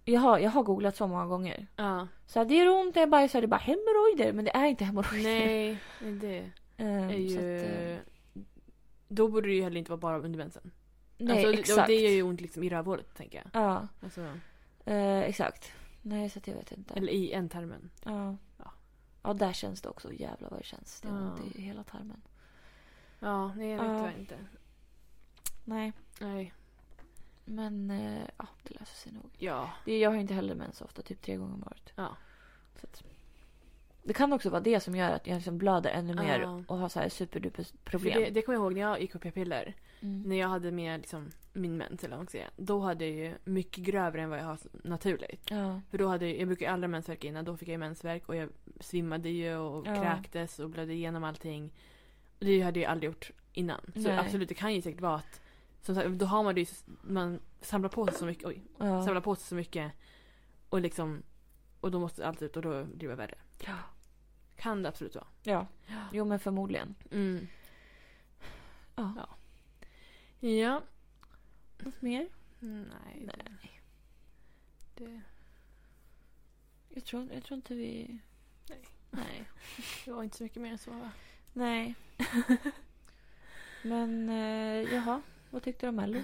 Speaker 2: Jag har, jag har googlat så många gånger.
Speaker 1: Ja.
Speaker 2: Så här, det är ont när jag bajsar, det är bara hemorrojder. Men det är inte hemorrojder.
Speaker 1: Nej, Mm, det...
Speaker 2: Ehm,
Speaker 1: är
Speaker 2: så
Speaker 1: ju...
Speaker 2: att, eh,
Speaker 1: Då borde det ju heller inte vara bara under mensen.
Speaker 2: nej,
Speaker 1: alltså,
Speaker 2: exakt.
Speaker 1: Och det gör ju ont liksom i rövhålet, tänker jag.
Speaker 2: Ja,
Speaker 1: Alltså,
Speaker 2: eh, exakt. Nej, så att jag vet inte.
Speaker 1: eller i ändtarmen.
Speaker 2: Ja.
Speaker 1: Ja.
Speaker 2: ja, där känns det också. Jävlar vad det känns. Det är
Speaker 1: Ja.
Speaker 2: ont i hela tarmen.
Speaker 1: Ja, nej jag vet
Speaker 2: Ja.
Speaker 1: tyvärr inte.
Speaker 2: Nej,
Speaker 1: Nej.
Speaker 2: men eh, ja, det löser sig nog.
Speaker 1: Ja.
Speaker 2: Det, jag har inte heller mens ofta, typ tre gånger om året.
Speaker 1: Ja.
Speaker 2: Så att, det kan också vara det som gör att jag liksom blöder ännu mer
Speaker 1: Ja.
Speaker 2: och har så här superduper
Speaker 1: För
Speaker 2: problem.
Speaker 1: det, det kommer jag ihåg när jag gick på p-piller.
Speaker 2: Mm.
Speaker 1: När jag hade med liksom, min mens, eller vad man ska säga. Då hade jag ju mycket grövre än vad jag har naturligt.
Speaker 2: Ja.
Speaker 1: För då hade jag, jag brukar ju aldrig ha mensvärk innan. Då fick jag ju mensvärk och jag svimmade ju och
Speaker 2: Ja.
Speaker 1: kräktes och blödde igenom allting. Det hade jag ju aldrig gjort innan. Så
Speaker 2: Nej.
Speaker 1: absolut, det kan ju säkert vara att som sagt, då har man det ju, man samlar på sig så mycket, oj,
Speaker 2: Ja.
Speaker 1: samlar på sig så mycket och liksom, och då måste allt ut och då blir det värre.
Speaker 2: Ja.
Speaker 1: Kan det absolut vara.
Speaker 2: ja. Jo men förmodligen.
Speaker 1: Mm.
Speaker 2: Ja.
Speaker 1: Ja.
Speaker 2: Något mer?
Speaker 1: Nej. Det, det,
Speaker 2: Jag tror, jag tror inte vi...
Speaker 1: Nej.
Speaker 2: Nej.
Speaker 1: det var inte så mycket mer än så va?
Speaker 2: Nej. men eh, jaha, vad tyckte du om Mello?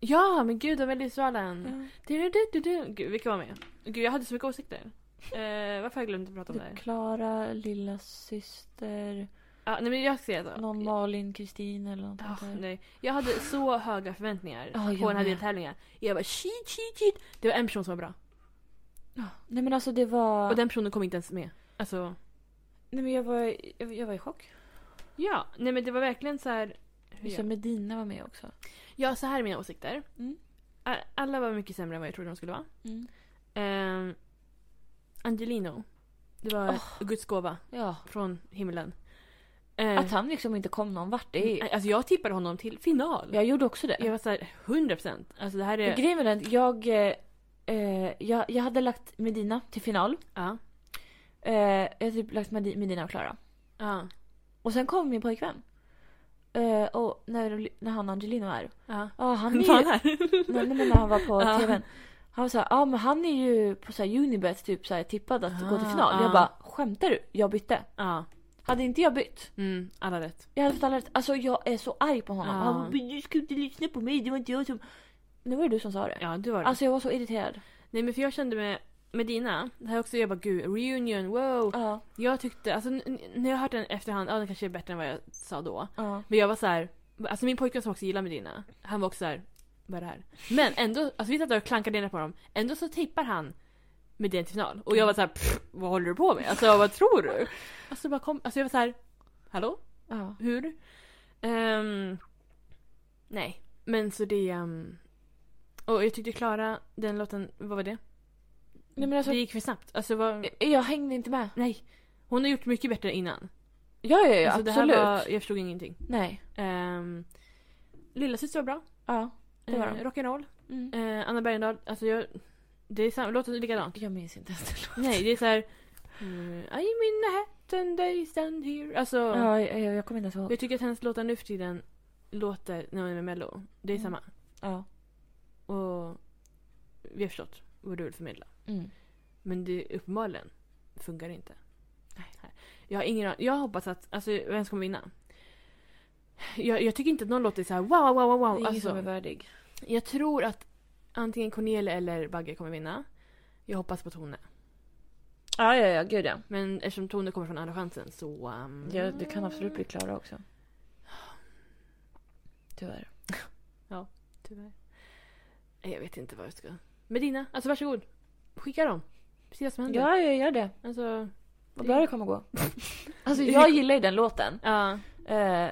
Speaker 1: Ja, men gud, om Melodifestivalen.
Speaker 2: Ja.
Speaker 1: Du, du, du, du. Gud, vilka var med? Gud, jag hade så mycket åsikter. Eh, varför har jag glömt att prata om det? här?
Speaker 2: Klara, lilla syster,
Speaker 1: Ja, nej, men jag ska säga så.
Speaker 2: någon Malin, Kristin eller något
Speaker 1: Ah,
Speaker 2: sånt där.
Speaker 1: nej. Jag hade så höga förväntningar
Speaker 2: Ja, jag
Speaker 1: på den här
Speaker 2: med.
Speaker 1: deltävlingen. Jag bara shit, shit, shit. Det var en person som var bra.
Speaker 2: Ja. Nej men alltså det var...
Speaker 1: Och den personen kom inte ens med. Alltså,
Speaker 2: Nej men jag var, jag, jag var i chock.
Speaker 1: ja. Nej men det var verkligen så här. Hur
Speaker 2: Just det,
Speaker 1: jag...
Speaker 2: Medina var med också.
Speaker 1: Ja, så här är mina åsikter.
Speaker 2: Mm.
Speaker 1: A- Alla var mycket sämre än vad jag trodde de skulle vara.
Speaker 2: Mm.
Speaker 1: Ehm, Angelino. Det var
Speaker 2: Åh.
Speaker 1: Guds gåva
Speaker 2: Ja.
Speaker 1: från himlen. Eh,
Speaker 2: Att han liksom inte kom någon vart. Det är...
Speaker 1: Alltså jag tippade honom till final.
Speaker 2: Jag gjorde också det.
Speaker 1: Jag var såhär 100%. Alltså det här
Speaker 2: För
Speaker 1: är...
Speaker 2: Grejen var den att jag, eh, eh, jag, jag hade lagt Medina till final.
Speaker 1: Ja.
Speaker 2: Eh, jag hade typ lagt Medi- Medina och Klara.
Speaker 1: Ja.
Speaker 2: Och sen kom min pojkvän. Eh, och när, när han Angelino är.
Speaker 1: Ja.
Speaker 2: Ja, han är
Speaker 1: Var han
Speaker 2: ju...
Speaker 1: här?
Speaker 2: nej, nej, men när han var på
Speaker 1: Ja.
Speaker 2: tvn. Han var såhär, ja men han är ju på såhär Unibet typ såhär tippad att gå till
Speaker 1: Ah,
Speaker 2: final. Jag
Speaker 1: ah.
Speaker 2: bara, skämtar du? Jag bytte.
Speaker 1: Ja.
Speaker 2: Hade inte jag bytt?
Speaker 1: Mm, alla rätt.
Speaker 2: Jag hade fått alla rätt. Alltså jag är så arg på honom.
Speaker 1: Ja.
Speaker 2: Han bara, "Men du ska inte lyssna på mig, det var inte jag som... Nu var det du som sa det.
Speaker 1: Ja, du var det.
Speaker 2: Alltså jag var så irriterad.
Speaker 1: Nej men för jag kände med, med dina, det här också, jag bara gud, reunion, wow.
Speaker 2: Ja,
Speaker 1: Jag tyckte, alltså n- n- när jag har hört den efterhand, ja den kanske är bättre än vad jag sa då.
Speaker 2: ja.
Speaker 1: Men jag var så här, alltså min pojkvän som också gillar med dina, han var också så här, vad är det här? Men ändå, alltså vi satt där och klankade ner på dem, ändå så tippar han med den till final. Och jag var så här, "Pff, vad håller du på med? Alltså vad tror du? Alltså, bara kom, alltså jag var så här, hallå?
Speaker 2: Ja.
Speaker 1: Hur? Ehm, nej, men så det... ehm, och jag tyckte Klara, den låten, vad var det?
Speaker 2: Nej, men alltså,
Speaker 1: det gick för snabbt. Alltså, vad,
Speaker 2: jag, jag hängde inte med.
Speaker 1: nej. Hon har gjort mycket bättre innan.
Speaker 2: Ja, ja, ja
Speaker 1: alltså, det
Speaker 2: absolut.
Speaker 1: här var, jag förstod ingenting.
Speaker 2: Nej.
Speaker 1: Um, Lilla syster var bra.
Speaker 2: Ja. Det var
Speaker 1: Eh,
Speaker 2: de.
Speaker 1: Rock'n'roll.
Speaker 2: Mm.
Speaker 1: Eh, Anna Bergendahl. Alltså jag... Det är samma, låter likadant.
Speaker 2: Jag minns inte ens den
Speaker 1: Nej, det är "Mm, såhär... I'm in Manhattan, they stand here. Alltså...
Speaker 2: Ja, jag, jag, jag kommer inte ens ihåg.
Speaker 1: Jag tycker att hennes låtar nu för tiden låter när hon är med Mello. Det är
Speaker 2: Mm.
Speaker 1: samma.
Speaker 2: Ja.
Speaker 1: Och vi har förstått vad du vill förmedla.
Speaker 2: Mm.
Speaker 1: Men det uppenbarligen funkar det inte.
Speaker 2: Nej.
Speaker 1: Här. Jag har ingen an- Jag hoppas att... Alltså vem som vinna? Jag, jag tycker inte att någon låter så här wow, wow, wow,
Speaker 2: Det är
Speaker 1: wow.
Speaker 2: ingen
Speaker 1: Alltså,
Speaker 2: som är värdig.
Speaker 1: jag tror att antingen Cornelia eller Bagge kommer vinna. Jag hoppas på Tone.
Speaker 2: Ja, ja, ja. Gud ja.
Speaker 1: Men eftersom Tone kommer från Andra chansen så... ehm,
Speaker 2: ja det kan absolut bli Klara också. Tyvärr.
Speaker 1: Tyvärr. Nej, Jag vet inte vad jag ska... Medina, alltså varsågod. Skicka dem. Se vad som händer.
Speaker 2: Ja, jag gör det.
Speaker 1: Alltså...
Speaker 2: Vad bra det kommer gå. alltså jag gillar ju den låten.
Speaker 1: Ja.
Speaker 2: Eh,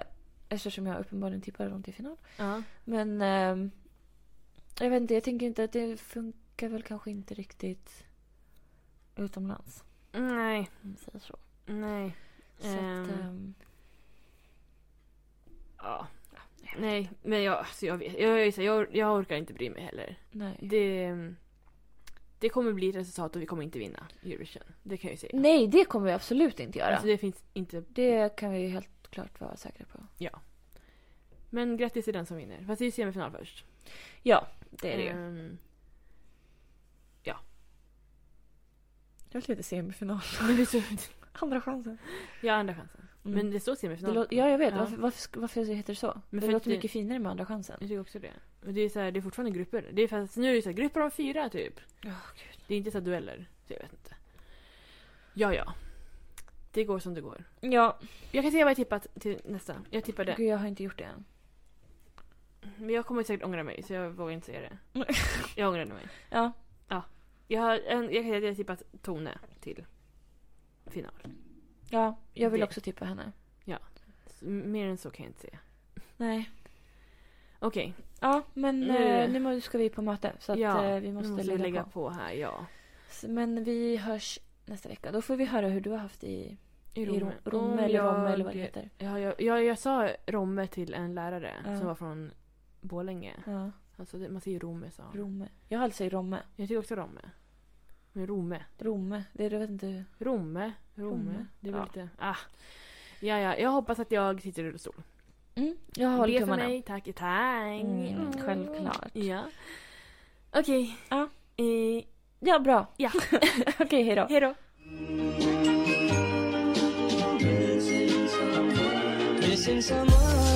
Speaker 2: eftersom jag uppenbarligen tippade dem till final.
Speaker 1: ja.
Speaker 2: Men ehm, jag vet inte, jag tänker inte att det funkar väl kanske inte riktigt utomlands.
Speaker 1: Nej.
Speaker 2: Om man säger så.
Speaker 1: Nej.
Speaker 2: Så att,
Speaker 1: Ehm.
Speaker 2: ehm,
Speaker 1: Ja. Nej, men jag, alltså jag vet. Jag, jag, jag, jag orkar inte bry mig heller.
Speaker 2: nej.
Speaker 1: Det... ehm, Det kommer bli ett resultat och vi kommer inte vinna Eurovision. Det kan jag ju säga.
Speaker 2: nej, det kommer vi absolut inte göra.
Speaker 1: Alltså det finns inte...
Speaker 2: det kan vi ju helt klart vara säkra på.
Speaker 1: Men grattis till den som vinner. Fast det är ju semifinal först.
Speaker 2: Ja, det är det ju.
Speaker 1: Ehm,
Speaker 2: Jag vill lite semifinal.
Speaker 1: men det är så...
Speaker 2: Andra chansen.
Speaker 1: Ja, andra chansen.
Speaker 2: Mm.
Speaker 1: Men det står
Speaker 2: det
Speaker 1: semifinal.
Speaker 2: lå- ja, jag vet.
Speaker 1: Ja.
Speaker 2: Varför, varför, sk- varför heter det så?
Speaker 1: Men
Speaker 2: det
Speaker 1: för
Speaker 2: låter
Speaker 1: att det-
Speaker 2: mycket finare med andra chansen.
Speaker 1: Jag tycker också det. Men det är, så här, det är fortfarande grupper. Det är fast, nu är det så här, grupper om fyra typ.
Speaker 2: Ja,
Speaker 1: Det är inte så här dueller. Så jag vet inte. Ja, ja. Det går som det går.
Speaker 2: Ja,
Speaker 1: Jag kan säga vad jag tippat till nästa. Jag tippade.
Speaker 2: gud, jag har inte gjort det än.
Speaker 1: Men jag kommer säkert ångra mig så jag vågar inte säga det.
Speaker 2: Nej.
Speaker 1: Jag ångrade mig.
Speaker 2: Ja.
Speaker 1: Jag, har en, jag kan säga att jag har tippat Tone till final.
Speaker 2: Ja, jag vill
Speaker 1: Det-
Speaker 2: också tippa henne.
Speaker 1: S- Mer än så kan jag inte säga.
Speaker 2: Nej.
Speaker 1: Okej,
Speaker 2: Ja, men
Speaker 1: Nu-
Speaker 2: nu, nu må- ska vi på möte. Så att,
Speaker 1: Ja,
Speaker 2: eh, vi
Speaker 1: nu
Speaker 2: måste,
Speaker 1: måste
Speaker 2: lägga,
Speaker 1: jag lägga
Speaker 2: på.
Speaker 1: på. här. Ja.
Speaker 2: S- Men vi hörs nästa vecka. Då får vi höra hur du har haft i,
Speaker 1: I
Speaker 2: i
Speaker 1: Rom,
Speaker 2: Rom- Romme eller Romme eller vad det heter.
Speaker 1: Ja, jag, jag, jag sa Romme till en lärare
Speaker 2: Ja.
Speaker 1: som var från Borlänge.
Speaker 2: Ja,
Speaker 1: Alltså det, man säger Romme sa han.
Speaker 2: Romme. Jag har alltså i Romme.
Speaker 1: Jag tycker också Romme. Men Romme.
Speaker 2: Romme. Det är, jag vet inte hur.
Speaker 1: Romme. Romme.
Speaker 2: Romme.
Speaker 1: Det är väl
Speaker 2: Ja.
Speaker 1: lite... Ah. Ja, ja. Jag hoppas att jag sitter i rullstol.
Speaker 2: Mm, jag
Speaker 1: Be
Speaker 2: håller
Speaker 1: för
Speaker 2: tummarna.
Speaker 1: mig. Tack. Tack.
Speaker 2: Mm, självklart.
Speaker 1: Ja. Okej.
Speaker 2: Ja.
Speaker 1: Eh,
Speaker 2: Ja, bra.
Speaker 1: Ja.
Speaker 2: Okej, hej då.
Speaker 1: hej då.
Speaker 3: Missing someone, missing someone.